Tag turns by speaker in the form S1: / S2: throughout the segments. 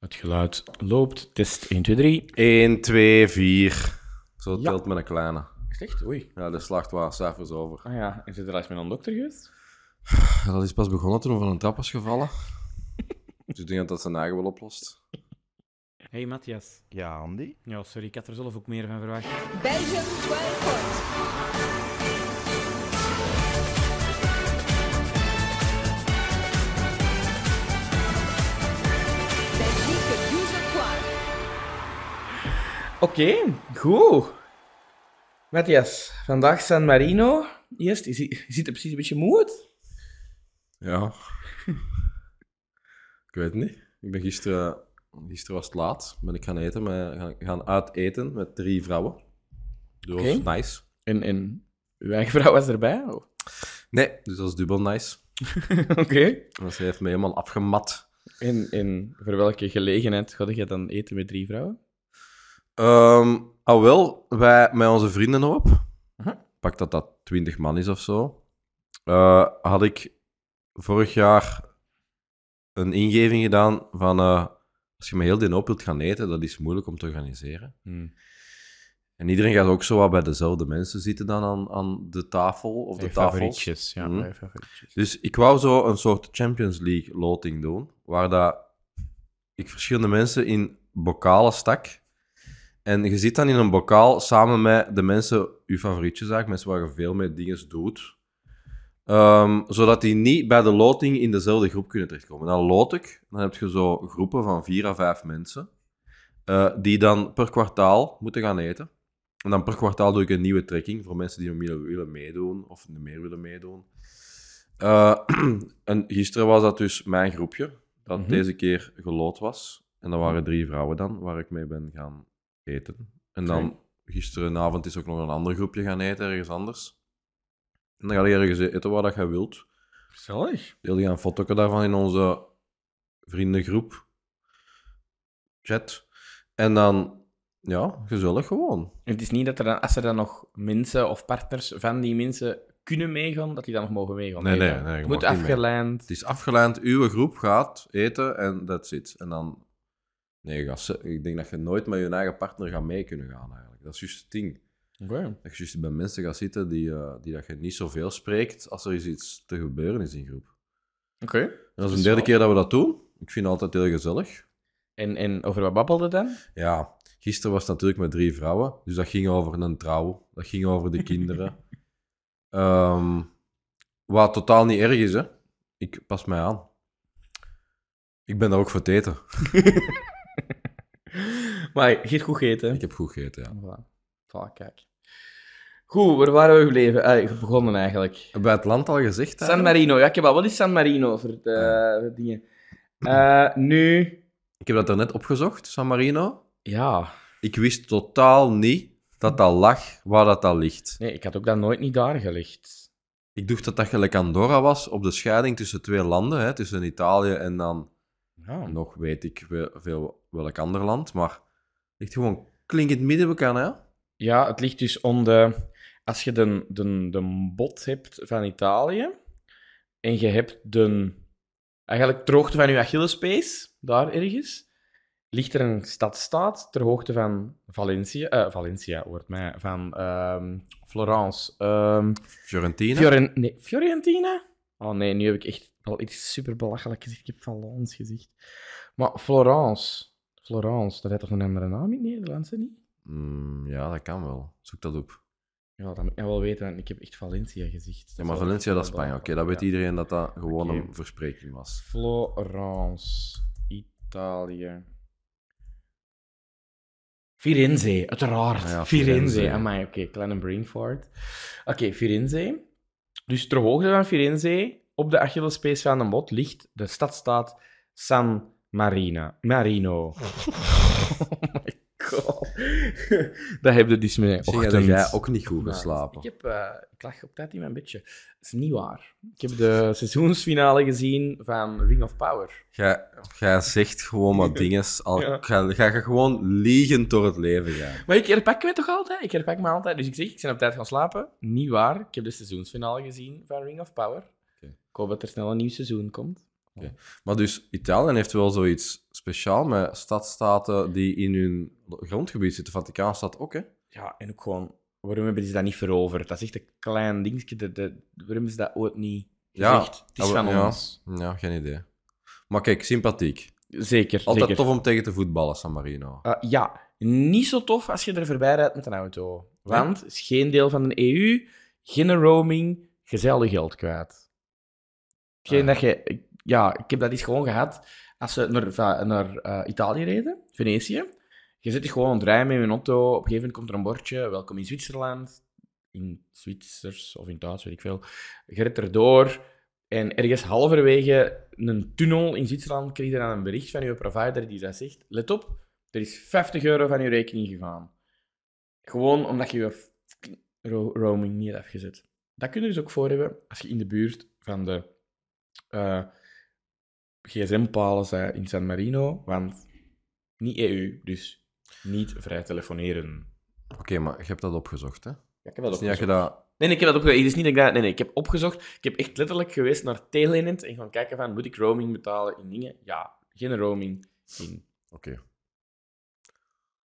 S1: Het geluid loopt. Test 1, 2, 3.
S2: 1, 2, 4. Zo telt met een kleine.
S1: Is het echt? Oei.
S2: Ja, de slacht was cijfers over.
S1: Ah ja, is het er laatst met een dokter geweest?
S2: Dat is pas begonnen toen we van een trap was gevallen. dus ik denk dat dat zijn eigen wel oplost.
S1: Hey Matthias.
S3: Ja, Andy.
S1: Ja, sorry, ik had er zelf ook meer van verwacht.
S4: Belgium 12 points. Belgique 12 points.
S5: Oké, goed. Matthias, vandaag San Marino. Eerst, je zie- je ziet er precies een beetje moe uit.
S2: Ja. ik weet het niet. Ik ben gisteren... Gisteren was het laat. Ben ik gaan eten. Met, gaan, gaan uit eten met drie vrouwen. Dus
S5: Oké.
S2: nice.
S5: En, en uw eigen vrouw was erbij? oh.
S2: Nee, dus dat is dubbel nice.
S5: Oké.
S2: En ze heeft me helemaal afgemat.
S5: En, en voor welke gelegenheid ga je dan eten met drie vrouwen?
S2: Ehm ah wel, wij met onze vrienden op. Pak dat dat 20 man is of zo. eh, had ik vorig jaar een ingeving gedaan van. eh, als je met heel die op wilt gaan eten, dat is moeilijk om te organiseren.
S1: Hmm.
S2: En iedereen gaat ook zo wat bij dezelfde mensen zitten dan aan, aan de tafel of de tafels.
S1: ja.
S5: Hmm.
S2: Mhm.
S1: mijn favorietjes.
S2: Dus ik wou zo een soort Champions League loting doen, waar dat ik verschillende mensen in bokalen stak. En je zit dan in een bokaal samen met de mensen, je favorietjes eigenlijk, mensen waar je veel mee dingen doet. Ehm, zodat die niet bij de loting in dezelfde groep kunnen terechtkomen. Dan lot ik, dan heb je zo groepen van vier à vijf mensen, eh, die dan per kwartaal moeten gaan eten. En dan per kwartaal doe ik een nieuwe trekking voor mensen die nog meer willen meedoen of niet meer willen meedoen. Eh, en gisteren was dat dus mijn groepje, dat
S1: Mhm.
S2: deze keer geloot was. En dat waren drie vrouwen dan, waar ik mee ben gaan eten. En dan
S1: Oké.
S2: gisterenavond is ook nog een ander groepje gaan eten, ergens anders. En dan ga je ergens eten waar dat je wilt.
S5: Gezellig.
S2: Deel je een foto daarvan in onze vriendengroep. Chat. En dan, ja, gezellig gewoon.
S5: En het is niet dat er dan, als er dan nog mensen of partners van die mensen kunnen meegaan, dat die dan nog mogen meegaan.
S2: Nee,
S5: eten.
S2: nee, nee, je
S5: Het
S2: mag
S5: moet
S2: niet mee.
S5: afgeleid.
S2: Het is afgeleid, uw groep gaat eten en that's it. En dan, nee, gasten, ik denk dat je nooit met je eigen partner gaat mee kunnen gaan eigenlijk. Dat is juist het ding.
S5: Oké.
S2: Dat je juist bij mensen gaat zitten die, eh, die dat je niet zoveel spreekt als er eens iets te gebeuren is in groep.
S5: Oké.
S2: En dat
S5: Dus
S2: is de derde
S5: wel-
S2: keer dat we dat doen. Ik vind het altijd heel gezellig.
S5: En, en over wat babbelde dan?
S2: Ja, gisteren was het natuurlijk met drie vrouwen. Dus dat ging over een trouw. Dat ging over de kinderen. Ehm, wat totaal niet erg is, hè. Ik pas mij aan. Ik ben daar ook voor het eten.
S5: Maar je hebt goed gegeten. hè?
S2: Ik heb goed gegeten, ja.
S5: Voilà. Voilà, kijk. Goed, waar waren we gebleven? Eh, begonnen eigenlijk.
S2: Heb je het land al
S5: San
S2: gezegd? eigenlijk?
S5: Marino, ja, ik heb al. Wat is San Marino voor, het, eh,
S2: Ja.
S5: voor dingen? Eh, nu...
S2: Ik heb dat daarnet opgezocht, San Marino.
S5: Ja,
S2: Ik wist totaal niet dat dat lag waar dat, dat ligt.
S5: nee, ik had ook dat nooit niet daar gelegd.
S2: Ik dacht dat dat gelijk Andorra was op de scheiding tussen twee landen, hè, tussen Italië en dan
S5: Ja.
S2: nog weet ik wel- veel welk ander land, maar ligt gewoon klinkend midden bekend, hè?
S5: Ja, het ligt dus om de... Als je de, de, de bot hebt van Italië, en je hebt de... Eigenlijk ter hoogte van je Achillespees, daar ergens, ligt er een stadstaat ter hoogte van Valencia... eh, Valencia, wordt mij... Van ehm, Florence. ehm,
S2: Fiorentina.
S5: Fioren- nee, Fiorentina? Oh nee, nu heb ik echt wel iets super belachelijk gezegd. Ik heb Valence gezegd. Maar Florence. Florence, dat heeft toch een andere naam in het Nederlands, hè, niet?
S2: Mm, ja, dat kan wel. Zoek dat op.
S5: Ja, dat moet ik nou wel weten, want ik heb echt Valencia gezegd.
S2: Ja, maar Valencia, dat is Spanje. Oké, dat weet
S5: Ja.
S2: iedereen dat dat gewoon
S5: Oké.
S2: een verspreking was.
S5: Florence, Italië. Firenze, uiteraard.
S2: Ah ja,
S5: Firenze.
S2: Firenze.
S5: Amai, oké, kleine brain fart. Oké, Firenze. Dus ter hoogte van Firenze, op de Achillespees van de bot, ligt de stadstaat San Marina. Marino. oh my god. Daar heb je dus mee.
S2: Zie je dat jij ook niet goed geslapen?
S5: Ik, heb, eh, ik lag op tijd in mijn bedje. Dat is niet waar. Ik heb de seizoensfinale gezien van Ring of Power.
S2: Jij, jij zegt gewoon maar dingen. Al,
S5: Ja.
S2: ga, ga je gewoon liegend door het leven gaan.
S5: Maar ik herpak me toch altijd? Ik herpak me altijd. Dus ik zeg, ik ben op tijd gaan slapen. Niet waar. Ik heb de seizoensfinale gezien van Ring of Power.
S2: Oké.
S5: Ik hoop dat er snel een nieuw seizoen komt.
S2: Maar dus Italië heeft wel zoiets speciaal met stadstaten die in hun grondgebied zitten. Vaticaanstad ook, hè?
S5: Ja, en ook gewoon, waarom hebben ze dat niet veroverd? Dat is echt een klein dingetje. De, de, waarom is dat ooit niet
S2: Ja,
S5: gezegd? het is
S2: dat we-
S5: van
S2: ja.
S5: ons.
S2: Ja, geen idee. Maar kijk, sympathiek.
S5: Zeker,
S2: Altijd
S5: zeker.
S2: tof om tegen te voetballen, San Marino.
S5: Eh, ja, niet zo tof als je er voorbij rijdt met een auto. Want het is geen deel van de E EU, geen roaming, gezellig geld kwijt. Hetgeen
S2: Ah.
S5: dat je, ja, ik heb dat eens gewoon gehad als ze naar, va- naar eh, Italië reden, Venetië. Je zit hier gewoon aan het rijden in een auto. Op een gegeven moment komt er een bordje. Welkom in Zwitserland. In Zwitsers of in Duits, weet ik veel. Je rijdt erdoor. En ergens halverwege een tunnel in Zwitserland kreeg je dan een bericht van je provider die dat zegt. Let op, er is 50 euro van je rekening gegaan. Gewoon omdat je je f- ro- roaming niet hebt afgezet. Dat kun je dus ook voor hebben als je in de buurt van de eh, gsm-palen bent in San Marino. Want niet EU, dus niet vrij telefoneren.
S2: Oké, maar je hebt dat opgezocht, hè?
S5: Ja, ik heb dat
S2: Het is Dus niet dat
S5: opgezocht.
S2: je dat...
S5: Nee, nee, ik heb dat opgezocht. Het is niet dat ik dat... Nee, nee, ik heb opgezocht. Ik heb echt letterlijk geweest naar Telenet en gaan kijken van, moet ik roaming betalen in dingen? Ja, geen roaming in.
S2: Oké.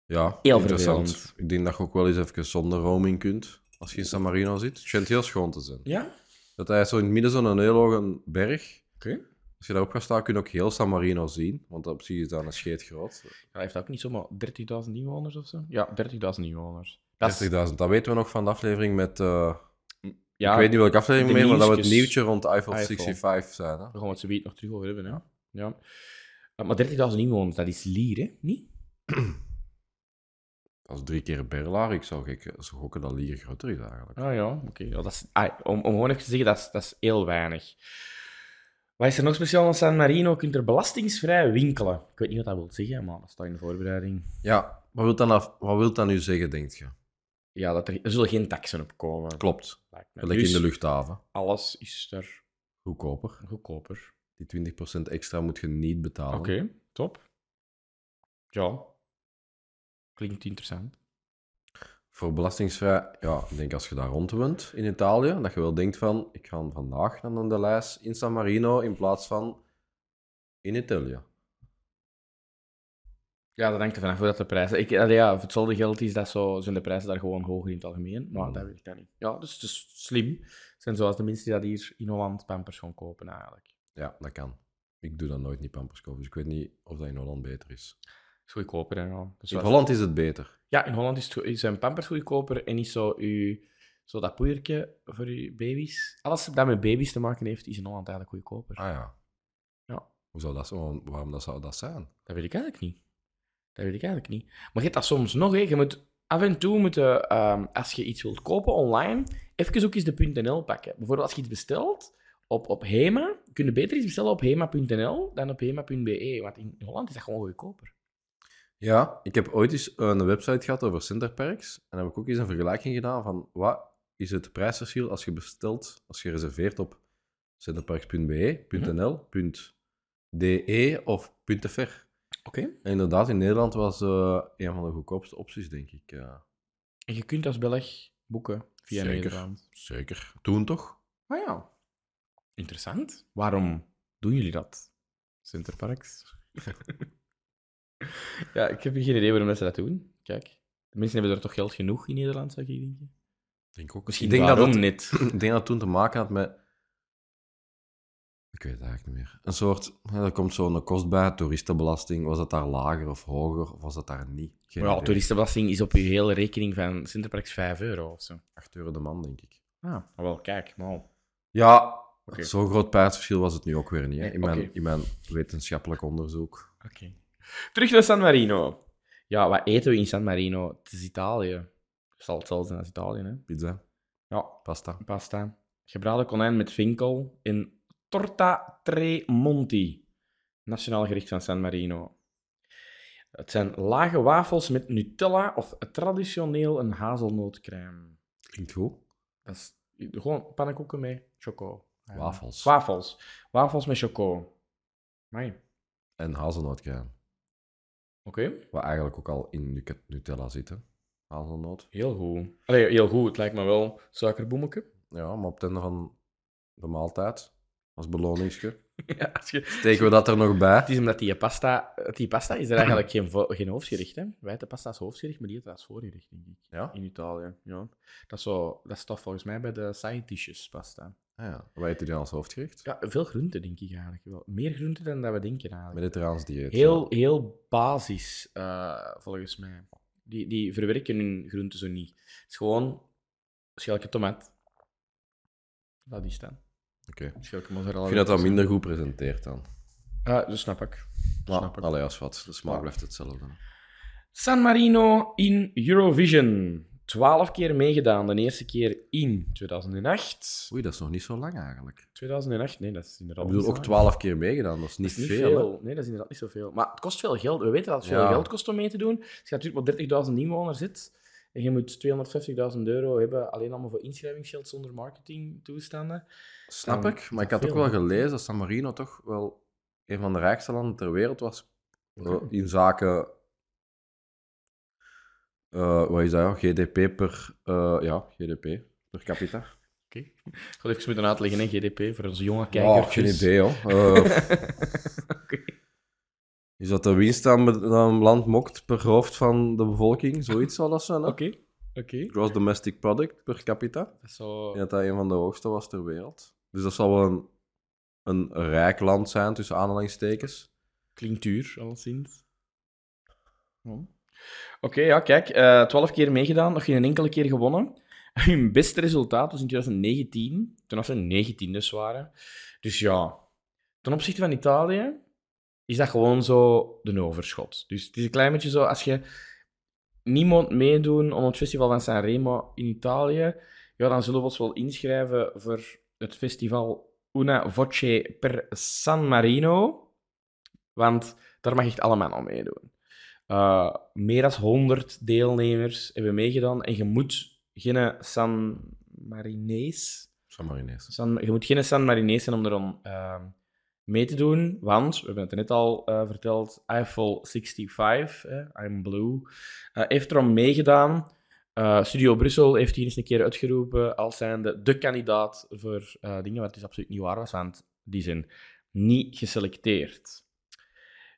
S2: Ja,
S5: Heel
S2: interessant.
S5: vervelend.
S2: Ik denk dat je ook wel eens even zonder roaming kunt. Als je in San Marino zit. Het schijnt heel schoon te zijn.
S5: Ja?
S2: Dat hij zo in het midden zo'n heel hoge berg.
S5: Oké.
S2: Als je daarop gaat staan, kun je ook heel San Marino zien. Want op zich is dat een scheet groot.
S5: Hij heeft ook niet zomaar 30.000 inwoners of zo? Ja, 30.000 inwoners. Dat is-
S2: 30.000. Dat weten we nog van de aflevering met... eh,
S5: ja,
S2: ik weet niet welke aflevering
S5: de
S2: meer, maar dat we het
S5: nieuwsjes.
S2: nieuwtje rond de iPhone
S5: iPhone.
S2: 65 zijn. Hè?
S5: Daar gaan we het zo nog terug over hebben, ja. ja. Eh, Maar 30.000 inwoners, dat is Lier, hè? Niet?
S2: Dat is drie keer Berlaar. Ik zou gek- zou gokken dat Lier groter is eigenlijk.
S5: Ah ja, oké. Ja, dat is- ah, om, om gewoon even te zeggen, dat is, dat is heel weinig. Wat is er nog speciaal aan San Marino? Je kunt er belastingsvrij winkelen. Ik weet niet wat dat wil zeggen, maar dat staat in de voorbereiding.
S2: Ja, wat wil dan, af- wat wil dan nu zeggen, denkt je?
S5: Ja, dat er, er zullen geen taxen op komen.
S2: Klopt.
S5: Lijkt me.
S2: Gelijk
S5: Dus
S2: in de luchthaven.
S5: alles is er
S2: Goedkoper.
S5: goedkoper.
S2: Die 20% extra moet je niet betalen.
S5: Oké, top. Ja. Klinkt interessant.
S2: Voor belastingsvrij, ja, ik denk als je daar rondwint in Italië, dat je wel denkt van, ik ga vandaag naar de lijst in San Marino in plaats van in Italië.
S5: Ja, dat hangt er vanaf hoe dat de prijzen... Ik, allee, ja, voor hetzelfde geld is dat zo, zijn de prijzen daar gewoon hoger in het algemeen. Maar
S2: Mm.
S5: dat weet ik dan niet. Ja, dus het is slim. Het zijn zoals de mensen die dat hier in Holland pampers gaan kopen, eigenlijk.
S2: Ja, dat kan. Ik doe dat nooit niet pampers kopen, dus ik weet niet of dat in Holland beter is.
S5: is goedkoper, hè, ja. Dus
S2: In
S5: wat-
S2: Holland is het beter.
S5: Ja, in Holland is het, goe- zijn pampers goedkoper en is zo, uw, zo dat poeiertje voor uw baby's. Alles dat met baby's te maken heeft, is in Holland eigenlijk goedkoper.
S2: Ah ja.
S5: Ja.
S2: Hoe zou dat, waarom, waarom dat zou dat zijn?
S5: Dat weet ik eigenlijk niet. Dat weet ik eigenlijk niet. Maar je hebt dat soms nog, hè. Je moet af en toe, moeten, ehm, als je iets wilt kopen online, even ook eens de .nl pakken. Bijvoorbeeld als je iets bestelt op, op Hema, kun je beter iets bestellen op hema.nl dan op hema.be, E, want in Holland is dat gewoon goedkoper.
S2: Ja, ik heb ooit eens eh, een website gehad over Centerparks. En heb ik ook eens een vergelijking gedaan van wat is het prijsverschil als je bestelt, als je reserveert op centerparks.be, .nl, .de of .fr.
S5: Oké.
S2: En inderdaad, in Nederland was eh, een van de goedkoopste opties, denk ik. eh.
S5: En je kunt als Belg boeken via
S2: Zeker.
S5: Nederland.
S2: zeker. Toen toch?
S5: Ah ja. Interessant. Waarom doen jullie dat, Sinterparks? ja, ik heb geen idee waarom dat ze dat doen. Kijk, de mensen hebben er toch geld genoeg in Nederland, zou ik denken.
S2: Denk ook.
S5: Misschien
S2: ik denk
S5: waarom
S2: dat het-
S5: niet.
S2: ik denk dat het toen te maken had met. Ik weet het eigenlijk niet meer. Een soort. ja, Er komt zo'n kost bij, toeristenbelasting. Was dat daar lager of hoger? Of was dat daar niet? Geen
S5: Maar ja,
S2: idee.
S5: toeristenbelasting is op je hele rekening van Sinterparks 5 euro of zo.
S2: 8 euro de man, denk ik.
S5: Ah, wel, kijk, man.
S2: Ja,
S5: Oké.
S2: zo'n groot prijsverschil was het nu ook weer niet. Hè? In,
S5: Nee,
S2: mijn,
S5: oké.
S2: in mijn wetenschappelijk onderzoek.
S5: Oké. Terug naar San Marino. Ja, wat eten we in San Marino? Het is Italië. Het zal hetzelfde zijn als Italië, hè?
S2: Pizza,
S5: Ja,
S2: pasta.
S5: pasta. Gebraden konijn met vinkel in Torta Tremonti. Nationaal gericht van San Marino. Het zijn lage wafels met Nutella of traditioneel een hazelnootcrème.
S2: Klinkt goed.
S5: Dat is gewoon pannenkoeken met choco. Ja.
S2: Wafels.
S5: Wafels. Wafels met choco. Amai. Oké.
S2: En hazelnootcrème. Wat eigenlijk ook al in Nut- Nutella zit. Hè? Hazelnoot.
S5: Heel goed. Allee, heel goed. Het lijkt me wel suikerboemetje.
S2: Ja, maar op het einde van de maaltijd Als beloningsje.
S5: Ja, als je...
S2: Steken we dat er nog
S5: Het
S2: bij?
S5: is omdat die pasta... Die pasta is er eigenlijk geen, vo- geen hoofdgerecht, hè? Witte pasta is hoofdgerecht, maar die heeft dat als voorgerecht, denk ik.
S2: Ja?
S5: In Italië, ja. Dat, is zo, dat staat volgens mij bij de side dishes pasta.
S2: Ah, ja. Wat heet die dan als hoofdgerecht?
S5: Ja, veel groenten, denk ik eigenlijk wel. Meer groenten dan dat we denken, eigenlijk.
S2: Mediterraans dieet.
S5: Heel, heel basis, eh, volgens mij. Die, die verwerken hun groenten zo niet. Het is gewoon schelke tomaat. Laat die staan.
S2: ja. Oké.
S5: Schelke mozzarella.
S2: Ik vind dat dat minder goed presenteert dan.
S5: Ah, dat snap ik.
S2: Maar,
S5: Snap ik.
S2: allee, als wat. De smaak
S5: Ja.
S2: blijft hetzelfde.
S5: San Marino in Eurovision. Twaalf keer meegedaan. De eerste keer in 2008.
S2: Oei, dat is nog niet zo lang eigenlijk.
S5: 2008? Nee, dat is inderdaad
S2: Ik bedoel,
S5: niet
S2: ook
S5: zo.
S2: twaalf keer meegedaan. Dat is niet,
S5: Dat is niet
S2: veel. hè.
S5: Nee, dat is inderdaad niet zoveel. Maar het kost veel geld. We weten dat het veel
S2: Ja.
S5: geld kost om mee te doen. Als je natuurlijk maar 30.000 inwoners zit en je moet 250.000 euro hebben alleen allemaal voor inschrijvingsgeld zonder marketingtoestanden.
S2: Snap
S5: Dan
S2: ik.
S5: is
S2: Maar ik
S5: dat
S2: had ook
S5: veel,
S2: wel
S5: hè?
S2: gelezen dat San Marino toch wel een van de rijkste landen ter wereld was. eh,
S5: Oké.
S2: In zaken. eh, wat is dat? ja? GDP per. eh, ja, GDP per capita.
S5: Ik ga het even moeten uitleggen, hè, GDP, voor onze jonge
S2: Oh,
S5: kijkers.
S2: geen idee, hoor. Eh,
S5: Oké.
S2: is dat de winst aan be- aan een land mokt per hoofd van de bevolking? Zoiets zal dat zijn. Hè?
S5: Oké, oké.
S2: Gross domestic product per capita.
S5: Dat is Zo...
S2: Ik denk dat dat een van de hoogste was ter wereld. Dus dat zal wel een, een rijk land zijn, tussen aanhalingstekens.
S5: Klinkt duur, alleszins. Ja. Oké, ja, kijk. eh 12 keer meegedaan, nog geen enkele keer gewonnen. Hun beste resultaat was in 2019, toen ze 19 dus waren. Dus ja, ten opzichte van Italië is dat gewoon zo de overschot. Dus het is een klein beetje zo, als je niemand meedoet om het festival van Sanremo in Italië, ja, dan zullen we ons wel inschrijven voor het festival Una Voce per San Marino. Want daar mag echt allemaal aan meedoen. Eh, meer dan 100 deelnemers hebben meegedaan. En je moet geen San Marinees.
S2: San Marinees.
S5: San, je moet geen San Marinees zijn om er dan eh, mee te doen. Want, we hebben het net al eh, verteld, Eiffel 65, eh, I'm Blue, eh, heeft erom meegedaan. Eh, Studio Brussel heeft hier eens een keer uitgeroepen als zijnde de kandidaat voor eh, dingen wat dus absoluut niet waar was, want die zijn niet geselecteerd.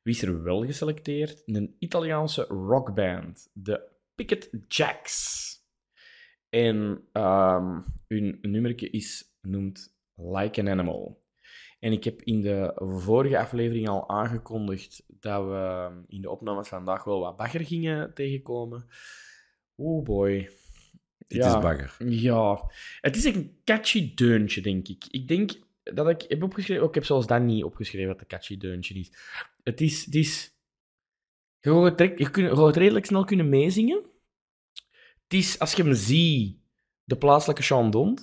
S5: Wie is er wel geselecteerd? Een Italiaanse rockband, de Picket Jacks. En ehm, hun nummerke is noemt Like an Animal. En ik heb in de vorige aflevering al aangekondigd dat we ehm, in de opnames vandaag wel wat bagger gingen tegenkomen. Oh boy.
S2: Dit is bagger.
S5: Ja, het is een catchy deuntje, denk ik. Ik denk dat ik heb opgeschreven... oh, ik heb zelfs dat niet opgeschreven, dat het een catchy deuntje is. Het is... Het is je gaat het, rek- je kun- je gaat het redelijk snel kunnen meezingen. Het is, als je hem ziet, de plaatselijke chandon.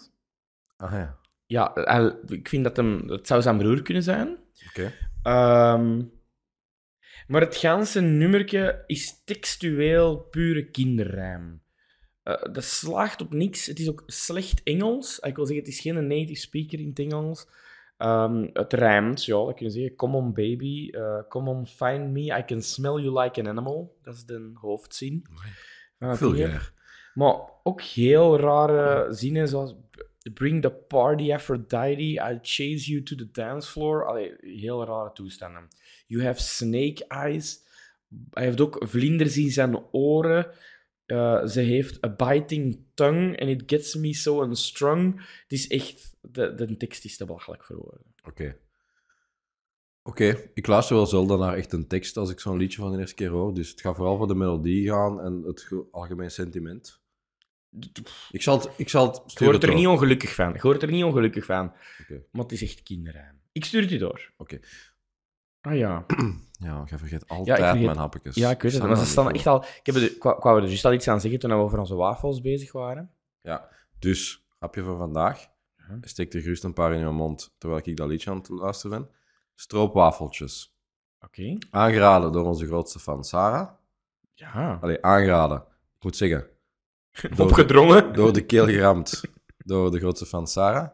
S2: Ah ja,
S5: Ja, hij- ik vind dat hem... Het zou zijn broer kunnen zijn.
S2: oké.
S5: Ehm, maar het ganse nummerke is textueel pure kinderrijm. Eh, dat slaagt op niks. Het is ook slecht Engels. Ah, Ik wil zeggen, het is geen native speaker in het Engels. Ehm, het rijmt, ja. Dat kun je zeggen. Come on baby, eh, come on find me, I can smell you like an animal. Dat is de hoofdzin.
S2: Amai.
S5: van het lied.
S2: Vulgair.
S5: Maar ook heel rare zinnen zoals Bring the party Aphrodite, I'll chase you to the dance floor. Allee, heel rare toestanden. You have snake eyes. Hij heeft ook vlinders in zijn oren. Eh, ze heeft a biting tongue and it gets me so unstrung. Het is echt... De, de tekst is te belachelijk voor woorden.
S2: Oké. Oké, ik luister wel zelden naar echt een tekst als ik zo'n liedje van de eerste keer hoor. Dus het gaat vooral voor de melodie gaan en het ge- algemeen sentiment. Ik zal het, ik zal het
S5: Ik hoor
S2: sturen
S5: het er niet
S2: door.
S5: ongelukkig van. Ik hoor het er niet ongelukkig van.
S2: Oké.
S5: Maar het is echt kinderrijm. Ik stuur het u door.
S2: Oké.
S5: Ah ja.
S2: Ja, jij vergeet altijd
S5: vergeet-
S2: mijn hapjes.
S5: Ja, ik weet Dus het. Maar ze staan echt al... Ik heb er, kwa- kwamen er juist al iets aan zeggen toen we over onze wafels bezig waren.
S2: Ja, dus hapje van vandaag.
S5: Ja.
S2: Steek er gerust een paar in je mond terwijl ik dat liedje aan het luisteren ben. Stroopwafeltjes.
S5: Oké.
S2: Aangeraden door onze grootste fan, Sarah.
S5: Ja.
S2: Allee, aangeraden. Ik moet zeggen, door de,
S5: Opgedrongen.
S2: door de keel geramd door de grootste fan, Sarah.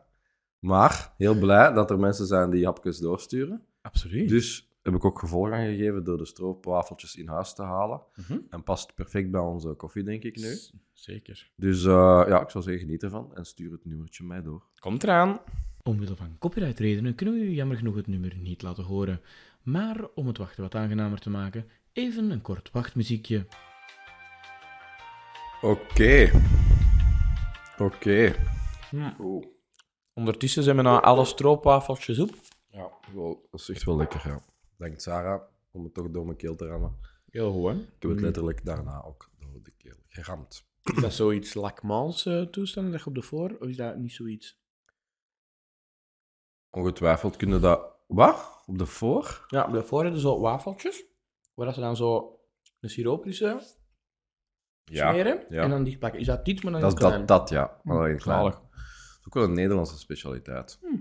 S2: Maar heel blij dat er mensen zijn die hapjes doorsturen.
S5: Absoluut.
S2: Dus heb ik ook gevolg aan gegeven door de stroopwafeltjes in huis te halen.
S5: Mhm.
S2: En past perfect bij onze koffie, denk ik nu.
S5: S- Zeker.
S2: Dus eh, ja, ik zou zeggen, geniet ervan en stuur het nummertje mij door.
S5: Komt eraan.
S1: Omwille van copyrightredenen kunnen we u jammer genoeg het nummer niet laten horen. Maar om het wachten wat aangenamer te maken, even een kort wachtmuziekje.
S2: Oké. Oké.
S5: Hm. Ondertussen zijn we naar alle stroopwafeltjes op.
S2: Ja, wel, dat is echt wel lekker, ja. Dank Sarah om het toch door mijn keel te rammen.
S5: Heel goed, hè?
S2: Ik heb het letterlijk daarna ook door de keel geramd.
S5: Is dat zoiets Lakmans eh toestanden dat je op de voor, of is dat niet zoiets?
S2: Ongetwijfeld kunnen dat... Wat? Op de voor?
S5: Ja, op de voor hebben ze zo wafeltjes, waar dat ze dan zo een siroop tussen smeren
S2: ja.
S5: en dan dichtpakken. Is dat dit, maar dan
S2: Dat is
S5: klein? Hm,
S2: dat, dat, ja. Maar dan in klein.
S5: Zalig.
S2: Dat is ook wel een Nederlandse specialiteit. Dus dat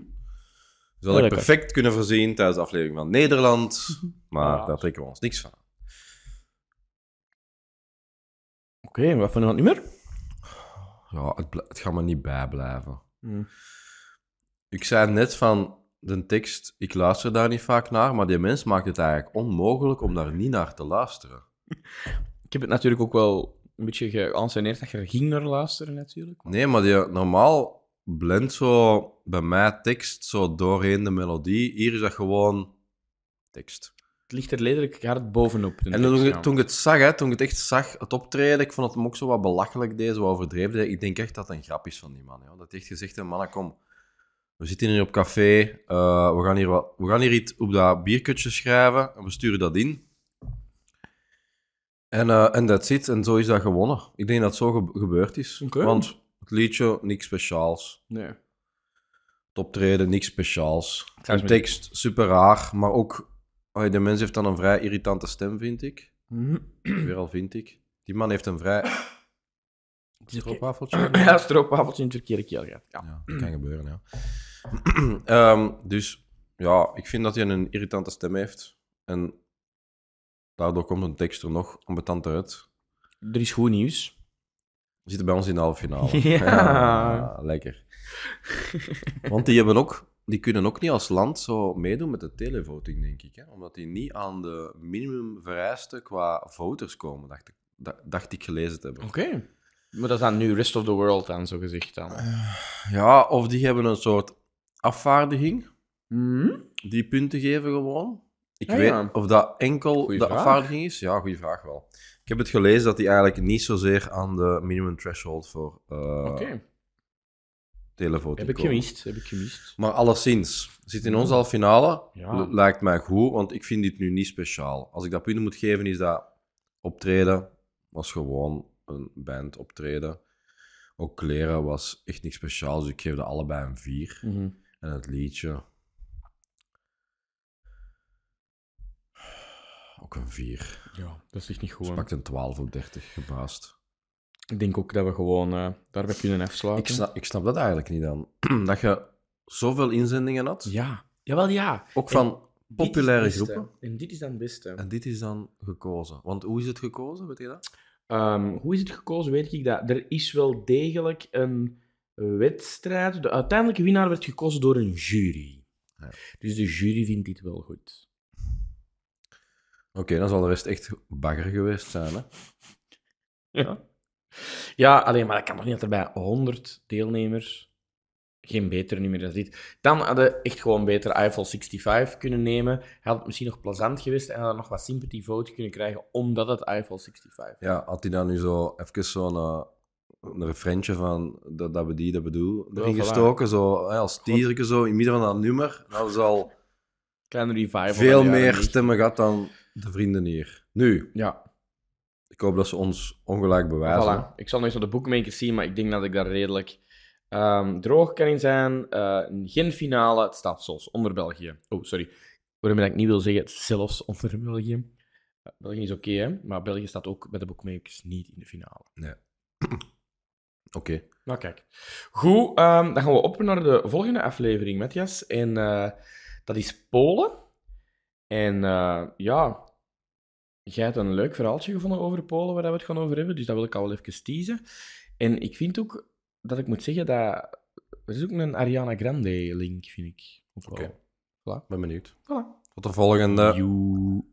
S5: Heel
S2: had ik
S5: lekker.
S2: perfect kunnen voorzien tijdens de aflevering van Nederland. Maar
S5: Ja.
S2: daar trekken we ons niks van.
S5: Oké, wat vinden we het nummer?
S2: Ja, het, bl- het gaat me niet bijblijven.
S5: Hmm.
S2: Ik zei net van de tekst, ik luister daar niet vaak naar, maar die mens maakt het eigenlijk onmogelijk om daar niet naar te luisteren.
S5: Ik heb het natuurlijk ook wel een beetje geanceneerd dat je er ging naar luisteren, natuurlijk.
S2: Nee, maar die, normaal blendt zo bij mij tekst zo doorheen de melodie. Hier is dat gewoon tekst.
S5: Het ligt er letterlijk hard bovenop. de
S2: En
S5: tekst,
S2: toen,
S5: ja.
S2: ik- toen ik het zag, hè, toen ik het echt zag, het optreden, ik vond het hem ook zo wat belachelijk deed, zo wat overdreven. deed. Ik denk echt dat het een grap is van die man. Joh. Dat hij echt gezegd heeft, mannen, kom, we zitten hier op café, eh, we, gaan hier wat, we gaan hier iets op dat bierkutje schrijven en we sturen dat in. En eh, en dat zit, en zo is dat gewonnen. Ik denk dat het zo ge- gebeurd is.
S5: Oké.
S2: Want het liedje, niks speciaals.
S5: Nee.
S2: Het optreden, niks speciaals.
S5: zou
S2: De
S5: eens met-
S2: tekst, super raar, maar ook... allee, de mens heeft dan een vrij irritante stem, vind ik.
S5: Hmm.
S2: Weer al vind ik. Die man heeft een vrij
S5: Het is oké.
S2: stroopwafeltje.
S5: Ja, stroopwafeltje in het verkeerde keel gaat. Ja.
S2: Ja, dat kan gebeuren, ja. Ehm, dus ja, ik vind dat hij een irritante stem heeft. En daardoor komt een tekst er nog ambetant uit.
S5: Er is goed nieuws.
S2: We zitten bij ons in de halve finale. Ah,
S5: Ja.
S2: lekker. Want die, hebben ook, die kunnen ook niet als land zo meedoen met de televoting, denk ik. Hè? Omdat die niet aan de minimumvereisten qua voters komen, dacht ik, da- dacht ik gelezen te hebben.
S5: Oké. Maar dat is dan nu rest of the world dan, zo gezegd dan.
S2: Ja, of die hebben een soort afvaardiging
S5: Mhm.
S2: die punten geven gewoon. Ik
S5: Ah,
S2: weet
S5: ja.
S2: of dat enkel
S5: Goeie
S2: de
S5: vraag.
S2: afvaardiging is. Ja, goede vraag wel. Ik heb het gelezen dat die eigenlijk niet zozeer aan de minimum threshold voor eh
S5: Oké.
S2: televoting
S5: Heb ik
S2: komen.
S5: gemist, heb ik gemist.
S2: Maar alleszins, zit in onze halve finale,
S5: Ja.
S2: L- lijkt mij goed, want ik vind dit nu niet speciaal. Als ik dat punten moet geven, is dat optreden was gewoon een band optreden. Ook kleren was echt niks speciaals, dus ik geef dat allebei een 4.
S5: Mhm.
S2: En het liedje. Ook een 4.
S5: Ja, dat is echt niet goed. hè.
S2: Dus pakt een 12 op 30 gebaasd.
S5: Ik denk ook dat we gewoon eh daarbij kunnen afsluiten.
S2: Ik snap, ik snap dat eigenlijk niet dan. dat je zoveel inzendingen had.
S5: Ja. Jawel, ja.
S2: Ook van populaire groepen.
S5: En dit is dan het beste.
S2: En dit is dan gekozen. Want hoe is het gekozen, weet je dat?
S5: Ehm, hoe is het gekozen, weet ik dat. Er is wel degelijk een wedstrijd. De uiteindelijke winnaar werd gekozen door een jury.
S2: Ja.
S5: Dus de jury vindt dit wel goed.
S2: Oké, dan zal de rest echt bagger geweest zijn. Hè?
S5: Ja. Ja, alleen maar dat kan toch niet dat er bij 100 deelnemers geen beter nummer dan dit. Dan hadden echt gewoon beter Eiffel 65 kunnen nemen. Had het misschien nog plezant geweest en hadden nog wat sympathy vote kunnen krijgen omdat het Eiffel 65 is.
S2: Ja, had hij dan nu zo even zo'n eh, een refrentje van dat, dat we die, dat we doen, erin
S5: voilà.
S2: gestoken. Zo, hè, als tierke zo, in midden van dat nummer. Dat is al...
S5: Kleine revival. van
S2: veel
S5: de jaren
S2: meer
S5: 90.
S2: stemmen gehad dan de vrienden hier. Nu,
S5: Ja,
S2: ik hoop dat ze ons ongelijk bewijzen.
S5: voilà. Ik zal nog eens op de boekmakers zien, maar ik denk dat ik daar redelijk ehm, droog kan in zijn. Eh, geen finale, het staat zelfs onder België. Oh, sorry. Waarmee dat ik niet wil zeggen, zelfs onder België. Eh, België is oké, hè? maar België staat ook bij de boekmakers niet in de finale.
S2: Oké,
S5: Nou, kijk. Goed, ehm, dan gaan we op naar de volgende aflevering, Matthias. En eh, dat is Polen. En eh, ja, jij hebt een leuk verhaaltje gevonden over Polen, waar we het gaan over hebben. Dus dat wil ik al wel even teasen. En ik vind ook dat ik moet zeggen dat... Er is ook een Ariana Grande-link, vind ik. Ook wel.
S2: ben benieuwd.
S5: Voilà.
S2: Tot de volgende.
S5: Joe.